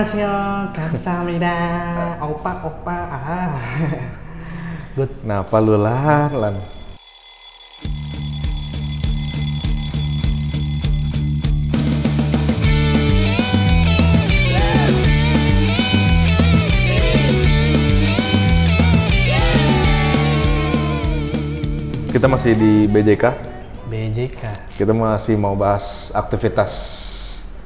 안녕하세요. 감사합니다. 오빠, 오빠. 아. Good. Kenapa lu lan? Lan? Kita masih di BJK. BJK. Kita masih mau bahas aktivitas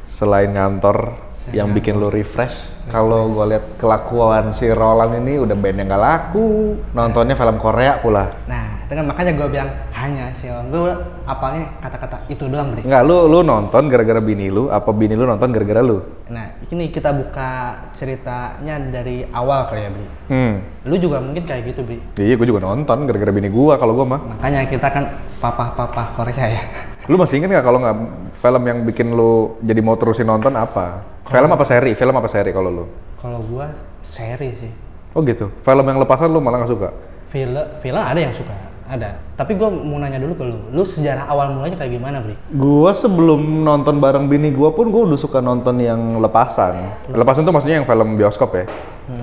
selain kantor yang bikin lu refresh. Kalau gua lihat kelakuan si Roland ini udah band yang gak laku, nontonnya film Korea pula. Nah, dengan makanya gue bilang hanya sih. Gue apalnya kata-kata itu doang, Bri. Enggak, lu lu nonton gara-gara bini lu, apa bini lu nonton gara-gara lu? Nah, ini kita buka ceritanya dari awal kali ya, Bri. Hmm. Lu juga mungkin kayak gitu, Bri. Iya, gua juga nonton gara-gara bini gua kalau gua mah. Makanya kita kan papa-papa Korea ya. Lu masih inget nggak kalau nggak film yang bikin lu jadi mau terusin nonton apa? Film apa seri? Film apa seri kalau lu? Kalau gua seri sih. Oh gitu. Film yang lepasan lu malah nggak suka. Film film ada yang suka, ada. Tapi gua mau nanya dulu ke lu. Lu sejarah awal mulanya kayak gimana, Bri? Gua sebelum nonton bareng bini gua pun gua udah suka nonton yang lepasan. Lepasan tuh maksudnya yang film bioskop ya.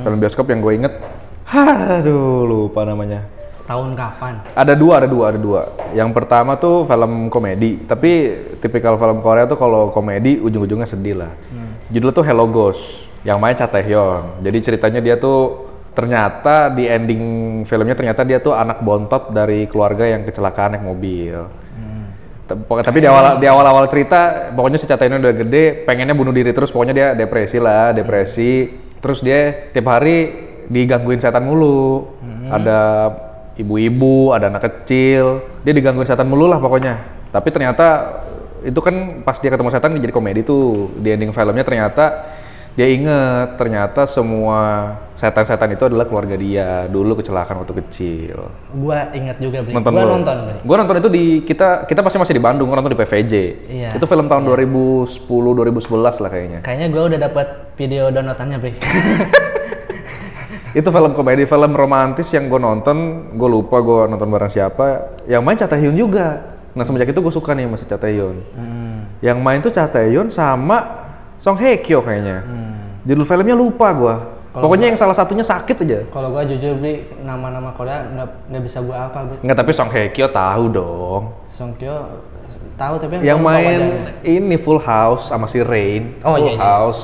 Film bioskop yang gue inget. Aduh, lupa namanya. Tahun kapan? Ada dua, ada dua, ada dua. Yang pertama tuh film komedi, tapi tipikal film Korea tuh kalau komedi ujung-ujungnya sedih lah. Judulnya tuh Hello Ghost, yang main Cha Taehyung. Jadi ceritanya dia tuh ternyata di ending filmnya ternyata dia tuh anak bontot dari keluarga yang kecelakaan naik mobil. Te- pokok- Tapi di awal di awal awal cerita pokoknya si Cha Tae Hyung udah gede, pengennya bunuh diri terus pokoknya dia depresi lah, depresi. Terus dia tiap hari digangguin setan mulu. Ada ibu-ibu, ada anak kecil. Dia digangguin setan mulu lah pokoknya. Tapi ternyata itu kan pas dia ketemu setan jadi komedi tuh. Di ending filmnya ternyata dia inget ternyata semua setan-setan itu adalah keluarga dia dulu kecelakaan waktu kecil Gua ingat juga, Bri. nonton gua lu. nonton, Bri. Gua nonton itu di kita kita pasti masih di Bandung, gua nonton di PVJ. Iya. Itu film tahun 2010 2011 lah kayaknya. Kayaknya gua udah dapat video downloadannya, Bri. Itu film komedi, film romantis yang gua nonton, gua lupa gua nonton bareng siapa. Yang main Cha Tae-hyun juga. Nah, semenjak itu gua suka nih sama si Cha Tae-hyun. Hmm. Yang main tuh Cha Tae-hyun sama Song Hye Kyo kayaknya. Hmm. Judul filmnya lupa gua. Pokoknya yang salah satunya sakit aja. Kalau gua jujur, Bri, nama-nama Korea nggak nggak bisa gua hafal, Bri. Nggak, tapi Song Hye Kyo tahu dong. Song Kyo tahu tapi yang lupa main wajahnya. ini Full House sama si Rain. Oh, Full iya, iya. House.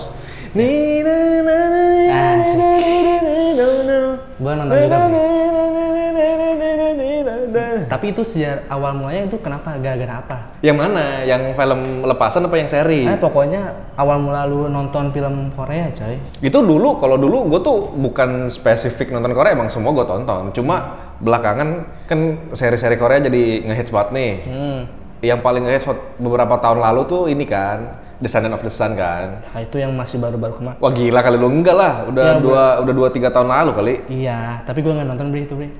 Ni na na na na Ah, na sih. na na na na. Gua nonton Na juga, na Bri. na na na na na na na na na na. Tapi itu sejarah awal mulanya itu kenapa gara-gara apa? Yang mana? Yang film lepasan apa yang seri? Eh pokoknya awal mula lu nonton film Korea coy. Itu dulu, kalau dulu gue tuh bukan spesifik nonton Korea, emang semua gue tonton. Cuma belakangan kan seri-seri Korea jadi ngehits banget nih. Hmm. Yang paling ngehits beberapa tahun lalu tuh ini kan, Descendant of the Sun kan. Nah, itu yang masih baru-baru kemarin. Wah gila kali lu enggak lah, udah Ya, dua udah dua tiga tahun lalu kali. Iya, tapi gua nggak nonton beli itu beli.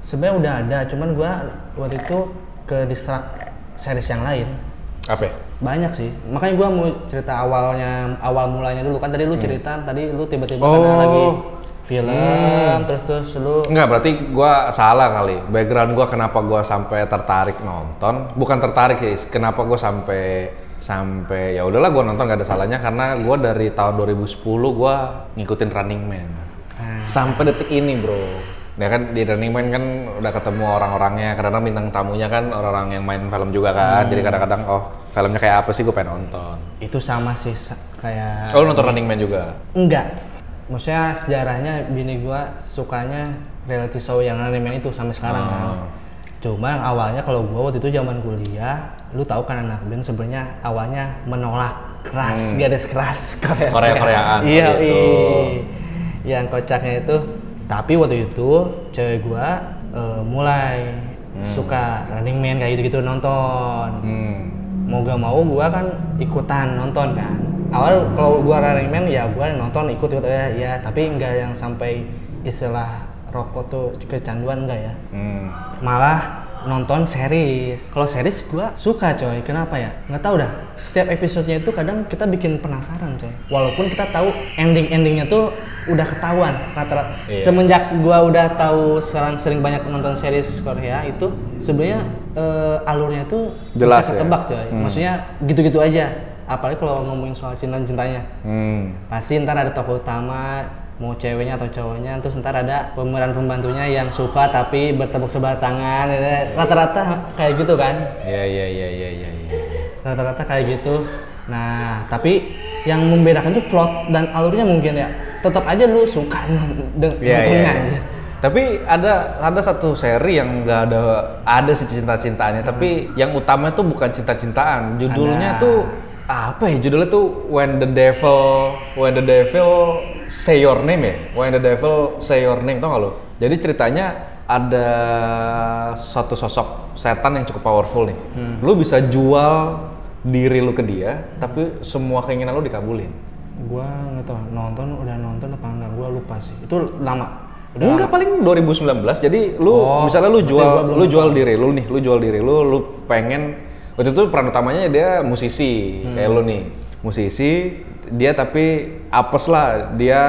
Sebenarnya udah ada, cuman gua waktu itu ke distract series yang lain Apa? banyak sih. Makanya gua mau cerita awalnya awal mulanya dulu kan tadi lu cerita tadi lu tiba-tiba Oh. kan lagi film terus terus lu Enggak berarti gua salah kali. Background gua kenapa gua sampai tertarik nonton? Bukan tertarik ya, kenapa gua sampai sampai ya udahlah gua nonton gak ada salahnya karena gua dari tahun 2010 gua ngikutin Running Man. Ah. Sampai detik ini, Bro. Ya kan di Running Man kan udah ketemu orang-orangnya, kadang-kadang bintang tamunya kan orang-orang yang main film juga kan. Jadi kadang-kadang oh, filmnya kayak apa sih gua pengen nonton. itu sama sih sa- kayak Oh, lu nonton Running Man juga? enggak. Maksudnya sejarahnya bini gua sukanya reality show yang anime itu sampai Ah. sekarang kan. Cuma yang awalnya kalau gua waktu itu zaman kuliah, lu tahu kan anak band sebenarnya awalnya menolak keras, garis keras Korea. Hmm. Korea-Koreaan, Iya, gitu. iya. Yang kocaknya itu tapi waktu itu cewek gua eh, mulai suka Running Man kayak gitu-gitu nonton Hmm. mau gak mau gua kan ikutan nonton kan awal kalau gua running man ya gua nonton ikut ikut ya, ya tapi nggak yang sampai istilah rokok tuh kecanduan enggak ya Hmm. malah nonton series kalau series gua suka coy kenapa ya nggak tahu dah setiap episodenya itu kadang kita bikin penasaran coy walaupun kita tahu ending endingnya tuh udah ketahuan rata-rata Iya. semenjak gua udah tahu sekarang sering banyak nonton series Korea itu sebenarnya eh, alurnya tuh Jelas bisa ya? ketebak coy maksudnya gitu-gitu aja apalagi kalau ngomongin soal cinta cintanya Hmm. pasti ntar ada tokoh utama mau ceweknya atau cowoknya terus ntar ada pemeran pembantunya yang suka tapi bertepuk sebelah tangan ya. rata-rata kayak gitu kan Ya ya ya ya ya. ya. rata-rata kayak gitu nah tapi yang membedakan tuh plot dan alurnya mungkin ya tetap aja lu suka dengan Iya, iya, iya. Tapi ada ada satu seri yang nggak ada ada sih cinta-cintaannya, tapi yang utama tuh bukan cinta-cintaan. Judulnya Ada. tuh apa ya? Judulnya tuh When the Devil When the Devil Say Your Name ya. When the Devil Say Your Name tau gak lo? Jadi ceritanya ada satu sosok setan yang cukup powerful nih. Lu bisa jual diri lu ke dia, tapi semua keinginan lu dikabulin. gua nggak tahu nonton udah nonton apa enggak gua lupa sih itu lama udah Enggak paling 2019. Jadi lu Oh, misalnya lu berarti gua jual belum lu jual diri lu nih, lu jual diri lu, lu pengen waktu itu peran utamanya dia musisi Hmm. kayak lu nih. Musisi, dia tapi apes lah, dia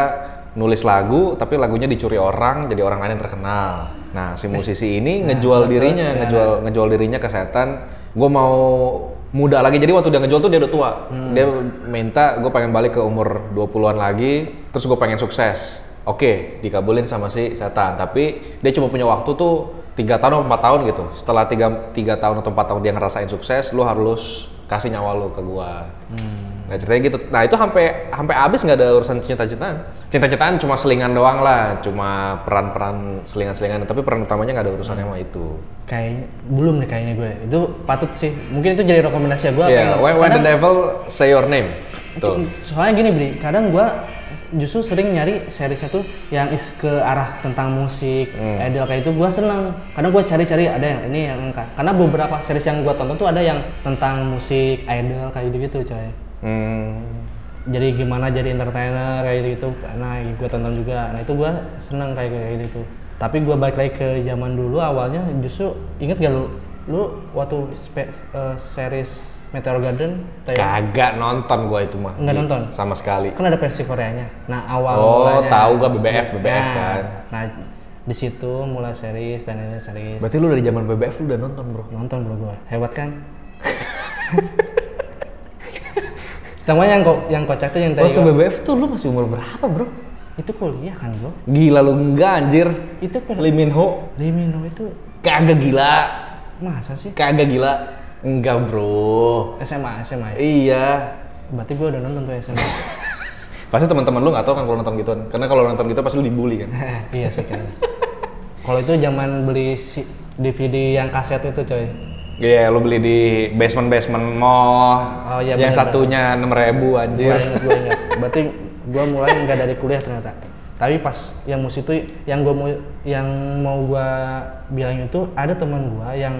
nulis lagu tapi lagunya dicuri orang jadi orang lain yang terkenal. Nah, Eh, si musisi ini terus, ngejual terus, dirinya, ngejual ngejual dirinya ke setan. Gue mau muda lagi. Jadi waktu dia ngejual tuh dia udah tua. Hmm. Dia minta gue pengen balik ke umur 20-an lagi, terus gue pengen sukses. Oke, dikabulin sama si setan. Tapi dia cuma punya waktu tuh tiga tahun atau empat tahun gitu. Setelah tiga tiga tahun atau empat tahun dia ngerasain sukses, lu harus kasih nyawa lu ke gua. Hmm. Nah ceritanya gitu. Nah itu sampai sampai abis nggak ada urusan cinta-cintaan. Cinta-cintaan cuma selingan doang lah, cuma peran-peran selingan-selingan. Tapi peran utamanya nggak ada urusannya sama itu. kayaknya belum deh kayaknya gue itu patut sih mungkin itu jadi rekomendasi ya gue Iya, when, when the devil say your name. Tuh. soalnya gini beli kadang gua justru sering nyari series itu yang is ke arah tentang musik idol kayak itu gua seneng kadang gua cari-cari ada yang ini yang enggak karena beberapa series yang gua tonton tuh ada yang tentang musik idol kayak gitu gitu coy Hmm. jadi gimana jadi entertainer kayak gitu nah gua tonton juga nah itu gua seneng kayak kayak gitu tapi gua balik lagi ke zaman dulu awalnya justru inget gak lu lu waktu spe- eh, series Meteor Garden Taiwan Kagak nonton gua itu mah. Nggak nonton? Sama sekali. kan ada versi Koreanya. Nah awal Oh, mulanya- tahu gua BBF, BBF Nah, kan. Nah di situ mulai series dan ini series Berarti lu dari zaman BBF lu udah nonton bro. nonton bro gua hebat kan? Cuma yang ko yang kocak tuh yang tadi Waktu BBF tuh lu masih umur berapa bro? itu kuliah kan bro? Gila lu enggak anjir. Itu per Lee Min Ho Limino itu kagak gila. masa sih Kagak gila. Enggak bro. SMA SMA ya? Iya. Berarti gua udah nonton tuh SMA. Pasti teman-teman lu nggak tahu kan kalau nonton gituan. Karena kalau nonton gitu pasti lu dibully kan. iya sih kayaknya. Kalau itu zaman beli si- DVD yang kaset itu coy. Iya, lu beli di basement-basement mall. Oh, iya, yang bener-bener. satunya 6.000 anjir. Gua ingat, gua ingat. Berarti gua mulai nggak dari kuliah ternyata. Tapi pas yang musik itu yang gua mau yang mau gua bilang itu ada teman gua yang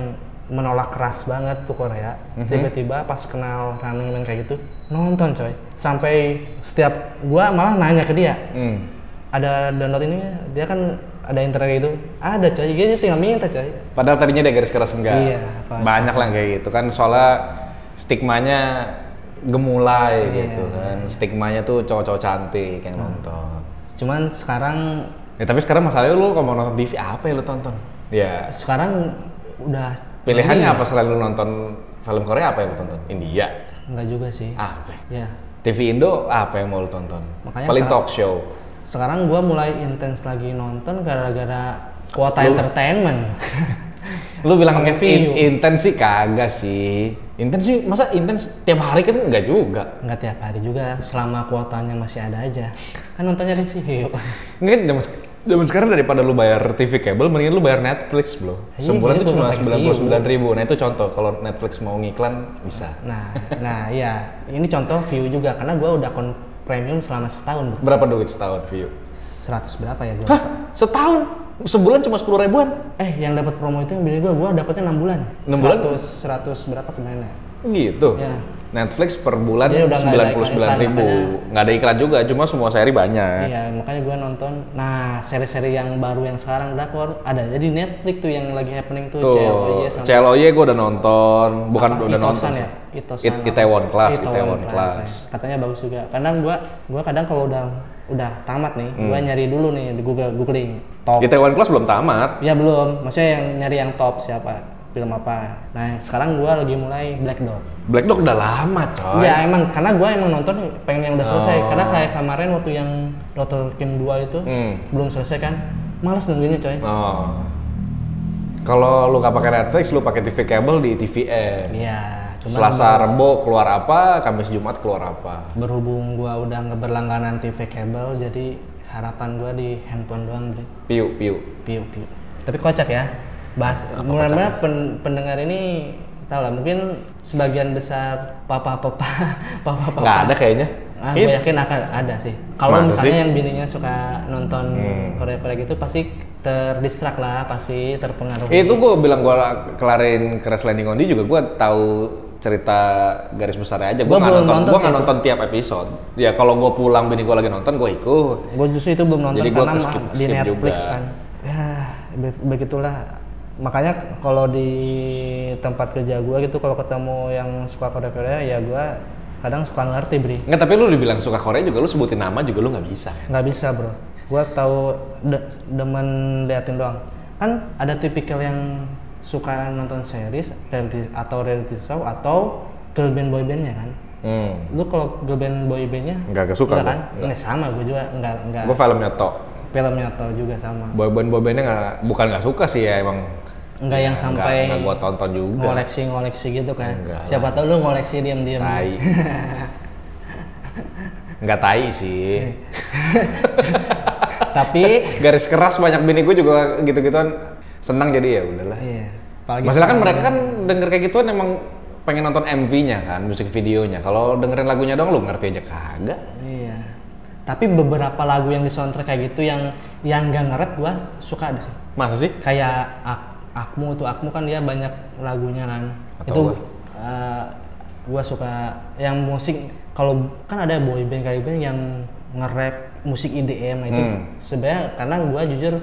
menolak keras banget tuh Korea. Tiba-tiba pas kenal Running Man kayak gitu, nonton coy. Sampai setiap gua malah nanya ke dia, Hmm. ada download ini nggak? dia kan ada internet gitu. Ada coy, dia tinggal minta coy. Padahal tadinya dia garis keras enggak. Iya, apa- Banyak lah kayak gitu kan soalnya stigmanya gemulai Iya. gitu kan. Stigmanya tuh cowok-cowok cantik Hmm. yang nonton. Cuman sekarang Ya tapi sekarang masalahnya lu kalau mau nonton TV apa ya lu tonton? Ya, sekarang udah pilihannya Iya. apa selain lu nonton film Korea apa yang lu tonton? India. nggak juga sih. Apa? ya? Ya, TV Indo apa yang mau lu tonton? Makanya Paling sekarang- talk show. sekarang gua mulai intens lagi nonton gara-gara kuota Lu- entertainment Lu bilang Pakai in, view. intens sih kagak sih. Intens sih masa intens tiap hari kan enggak juga. nggak tiap hari juga selama kuotanya masih ada aja kan nontonnya review Enggak kan zaman, zaman sekarang daripada lu bayar TV kabel mendingan lu bayar Netflix, Bro. Iya, jadi Sebulan tuh gua cuma pakai sembilan ribu. Nah, itu contoh kalau Netflix mau ngiklan bisa. nah nah ya ini contoh view juga karena gua udah kon premium selama setahun bro. Berapa duit setahun view? 100 berapa ya gua Hah? Setahun? Sebulan cuma sepuluh ribuan? eh yang dapat promo itu yang beli gua gua dapatnya enam bulan Enam bulan? 100 100 berapa ya? kemana Gitu. Iya. Netflix per bulan Jadi udah nggak ada sembilan puluh sembilan iklan, ribu. Nggak ada iklan juga, cuma semua seri banyak. Iya, makanya gua nonton. Nah, seri-seri yang baru yang sekarang drakor ada jadi Netflix tuh yang lagi happening tuh, Tuh, CLOY iya, sama CLOY gue udah nonton, bukan Apa, udah nonton. Itosan sih. ya? Itosan It, apa? Itaewon Class, Itaewon Itaewon Class, Class. ya. Katanya bagus juga. Kadang gua gua kadang kalau udah udah tamat nih, gua Hmm. nyari dulu nih di Google googling top. Itaewon Class belum tamat. Ya belum, maksudnya yang nyari yang top siapa. film apa. Nah sekarang gue lagi mulai Black Dog. Black Dog udah lama coy. Ya emang karena gue emang nonton pengen yang udah selesai. Karena kayak kemarin waktu yang Dr. King 2 itu Oh. Hmm. belum selesai kan, malas nungguinnya coy. Oh. Kalau lu nggak pakai Netflix, lu pakai TV kabel di TVN. Iya, cuma Selasa, Rebo keluar apa, Kamis, Jumat keluar apa. berhubung gue udah nggak berlangganan TV kabel, jadi harapan gue di handphone doang, Bli. Piu, piu. Piu, piu. Tapi kocak ya. Bahas, Ah, mudah-mudahan pen- pendengar ini tau lah, mungkin sebagian besar papa-papa, papa-papa. Nggak ada kayaknya. Ah, gue Ini yakin akan ada sih. Kalau Masa misalnya sih? Hmm. yang bininya suka nonton Korea-Korea gitu pasti terdistrak lah, pasti terpengaruh. Eh, itu gue bilang gue kelarin Crash Landing on You juga gue tahu cerita garis besarnya aja gue Gua nggak belum nonton nonton gue sih nggak itu. nonton tiap episode ya kalau gue pulang bini gue lagi nonton gue ikut Gue justru itu belum nonton Jadi gua karena mah keskip- di skip Netflix juga. kan. Ya, be- begitulah. Makanya kalau di tempat kerja gua gitu kalau ketemu yang suka Korea-Korea ya gua kadang suka ngerti, Bri. nggak tapi lu dibilang suka Korea juga lu sebutin nama juga lu nggak bisa nggak bisa bro gua tahu de- demen liatin doang kan ada tipikal yang suka nonton series reality atau reality show atau girl band boy bandnya kan hmm. lu kalau girl band boy bandnya nggak suka Iya. enggak gue kan nggak sama gue juga nggak nggak gue filmnya tok filmnya atau juga sama boyband boybandnya nggak bukan nggak suka sih ya emang nggak yang sampai nggak gue tonton juga ngoleksi ngoleksi gitu kan Enggak siapa tahu lu ngoleksi diam diam tai nggak tai sih tapi garis keras banyak bini gue juga gitu gituan senang jadi ya udahlah iya apalagi Masalah kan mereka kan denger kayak gituan emang pengen nonton MV-nya kan, musik videonya. Kalau dengerin lagunya dong lu ngerti aja kagak. Iya. Tapi beberapa lagu yang di soundtrack kayak gitu yang yang gak ngeret gua suka ada sih. Masa sih? Kayak Ak- Akmu tuh Akmu kan dia banyak lagunya kan. Atau itu gua. eh, gua suka yang musik kalau kan ada boy band kayak band yang nge-rap musik IDM nah itu Hmm. sebenarnya karena gua jujur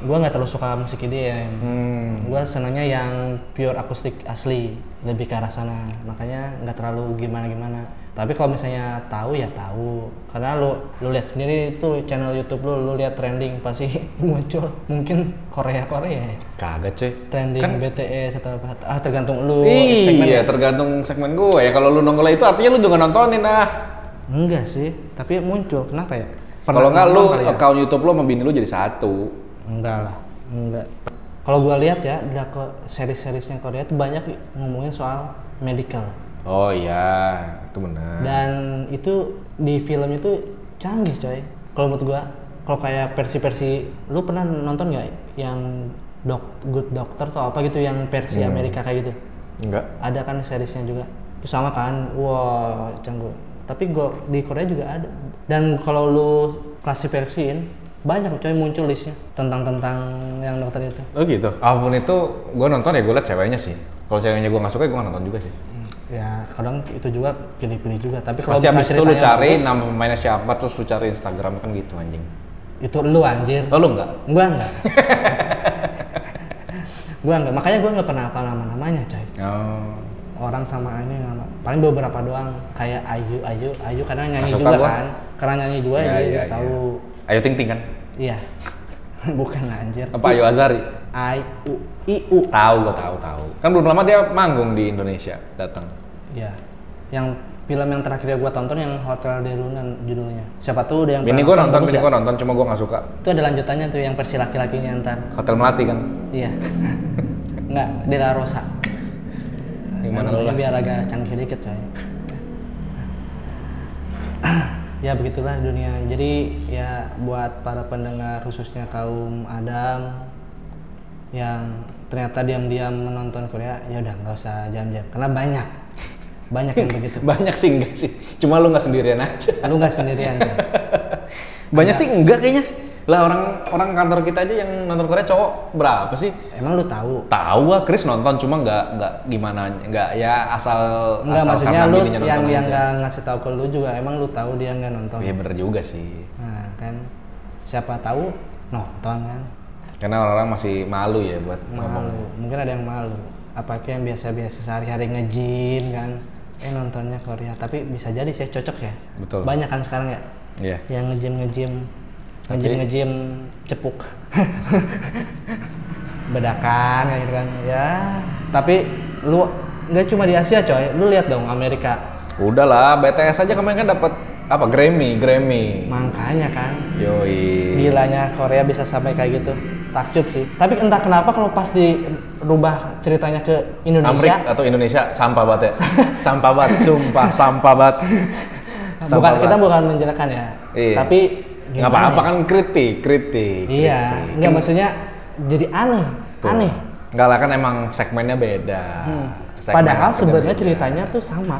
gua nggak terlalu suka musik E IDM. Hmm, Gua senangnya yang pure akustik asli lebih ke arah sana. Makanya nggak terlalu gimana-gimana. Tapi kalau misalnya tahu ya tahu. Karena lu lu lihat sendiri itu channel YouTube lu, lu lihat trending pasti muncul mungkin Korea-Korea ya. Kagak cuy. Trending BTS atau apa. Ah tergantung lu segmennya. Kan- Iya, tergantung segmen gue ya. Kalau lu nongol itu artinya lu juga nontonin ah. Enggak sih, tapi muncul. Kenapa ya? Pernah Kalau nggak lu nonton kali ya? account YouTube lu sama bini lu jadi satu. Enggak lah, enggak. Kalau gua lihat ya, drakor series-seriesnya Korea itu banyak ngomongin soal medical. Oh iya, itu benar. Dan itu di film itu canggih coy. Kalau menurut gua, kalau kayak versi-versi, lu pernah nonton nggak yang dok, Good Doctor atau apa gitu yang versi Iya. Amerika kayak gitu? Enggak. Ada kan seriesnya juga. Terus sama kan, wah canggung. Tapi gua, di Korea juga ada. Dan kalau lu klasifikasiin, banyak coy muncul listnya tentang tentang yang dokter itu. Oh gitu. Apapun itu gue nonton ya gue liat ceweknya sih. Kalau ceweknya gue nggak suka gue nggak nonton juga sih. Ya kadang itu juga pilih-pilih juga. Tapi kalau Hmm. Pasti misalnya abis itu lu ceritanya cari bagus, nama pemainnya siapa terus lu cari Instagram kan gitu anjing. itu lu anjir. Oh lu nggak? Gua enggak. gua enggak. Makanya gua enggak pernah hafal nama-namanya, coy. Oh. Orang sama ini nama. Paling beberapa doang kayak Ayu, Ayu, Ayu karena nyanyi Nggak suka juga gua. kan. Karena nyanyi juga Ya, dia ya, juga ya. tahu. Ayo Ting Ting kan? Iya. Bukan anjir. Apa Ayo Azari? I U I U. Tahu gua tahu tahu. Kan belum lama dia manggung di Indonesia datang. Iya. Yang film yang terakhir gua tonton yang Hotel Derunan judulnya. Siapa tuh udah yang pernah Bini gua nonton, bagus bini ya? gua nonton, cuma gua nggak suka. Itu ada lanjutannya tuh yang versi laki-lakinya ntar. Hotel Melati kan? Iya. Enggak, Dela Rosa. Gimana Namanya lu lah? biar agak canggih dikit coy. ya begitulah dunia. Jadi ya buat para pendengar khususnya kaum Adam yang ternyata diam-diam menonton Korea, ya udah nggak usah diam-diam karena banyak. Banyak yang begitu. Banyak sih enggak sih. Cuma lu nggak sendirian aja. Lu nggak sendirian. Coy. Banyak sih enggak kayaknya. Lah orang orang kantor kita aja yang nonton Korea cowok berapa sih? Emang lu tahu? Tahu ah Chris nonton cuma nggak nggak gimana nggak ya asal Enggak asal maksudnya karena lu bininya yang nonton yang aja. nggak ngasih tahu ke lu juga emang lu tahu dia nggak nonton. Iya bener juga sih. Nah kan siapa tahu nonton kan Karena orang-orang masih malu ya buat ngomong. malu mungkin ada yang malu apalagi yang biasa-biasa sehari-hari nge-gym kan eh nontonnya Korea tapi bisa jadi sih cocok ya Betul. banyak kan sekarang ya Iya. yang nge-gym nge-gym Tapi- nge-gym nge-gym cepuk bedakan kayak gitu kan ya tapi lu nggak cuma di Asia coy lu lihat dong Amerika Udahlah, BTS aja kemarin kan dapat apa Grammy, Grammy. makanya kan Yoi. gilanya Korea bisa sampai kayak gitu takjub sih tapi entah kenapa kalau pas dirubah ceritanya ke Amrik Indonesia atau Indonesia sampah banget ya. sampah banget, sumpah sampah banget. bukan Sampah kita banget. bukan menjelekan ya Iya. tapi nggak gimana apa-apa ya? kan kritik, kritik. iya nggak maksudnya jadi aneh aneh Hmm. Enggak lah kan emang segmennya beda. Segmen padahal marketnya sebenarnya beda. ceritanya tuh sama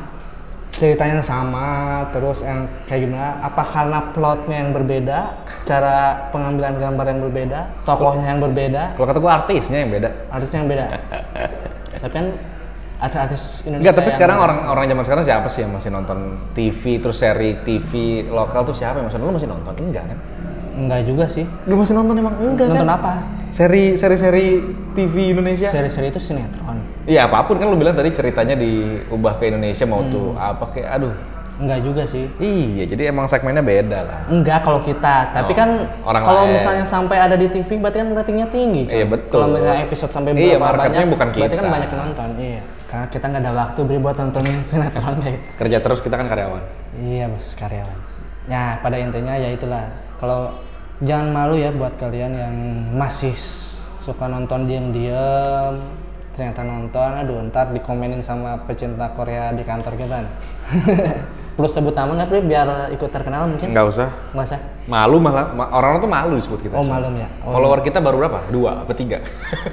ceritanya sama terus yang kayak gimana apa karena plotnya yang berbeda cara pengambilan gambar yang berbeda tokohnya yang berbeda Kalau kata gua artisnya yang beda. artisnya yang beda tapi kan artis-artis Indonesia Enggak, tapi yang- sekarang orang orang zaman sekarang siapa sih yang masih nonton TV terus seri TV lokal tuh siapa yang masih nonton? Lu masih nonton? Enggak kan? Enggak juga sih. Lu masih nonton emang enggak Nonton kan? Iya. apa? Seri seri seri TV Indonesia. Seri-seri itu sinetron. Iya apapun kan lu bilang tadi ceritanya diubah ke Indonesia mau tuh apa kayak aduh Enggak juga sih. iya jadi emang segmennya beda lah Enggak kalau kita, tapi Oh, kan orang kalau lain. misalnya sampai ada di TV berarti kan ratingnya tinggi. coy. Iya, betul. Kalau misalnya episode sampai berapa Iya, marketnya banyak, bukan Berarti kan kita. banyak yang nonton. Iya. Karena kita nggak ada waktu beri buat nontonin sinetron kayak gitu. kerja terus kita kan karyawan Iya, Bos karyawan. Nah, pada intinya ya itulah. Kalau jangan malu ya buat kalian yang masih suka nonton diem-diem ternyata nonton aduh ntar dikomenin sama pecinta Korea di kantor kita nih. perlu sebut nama nggak Pri? biar ikut terkenal mungkin nggak usah nggak usah malu malah ma- orang orang tuh malu disebut kita oh malum ya Oh. follower kita baru berapa dua apa tiga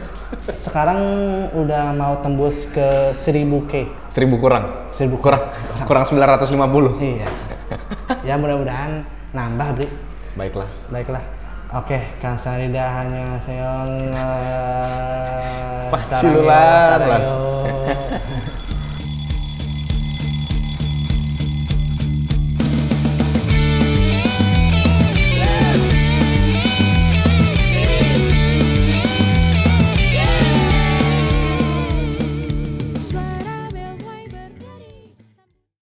sekarang udah mau tembus ke 1000 k seribu kurang 1000 kurang kurang 950 iya ya mudah-mudahan nambah Bri baiklah Baiklah. Oke, Kang Sarida hanya eh, seong. eh, Pak sarayo, Silular. sarayo.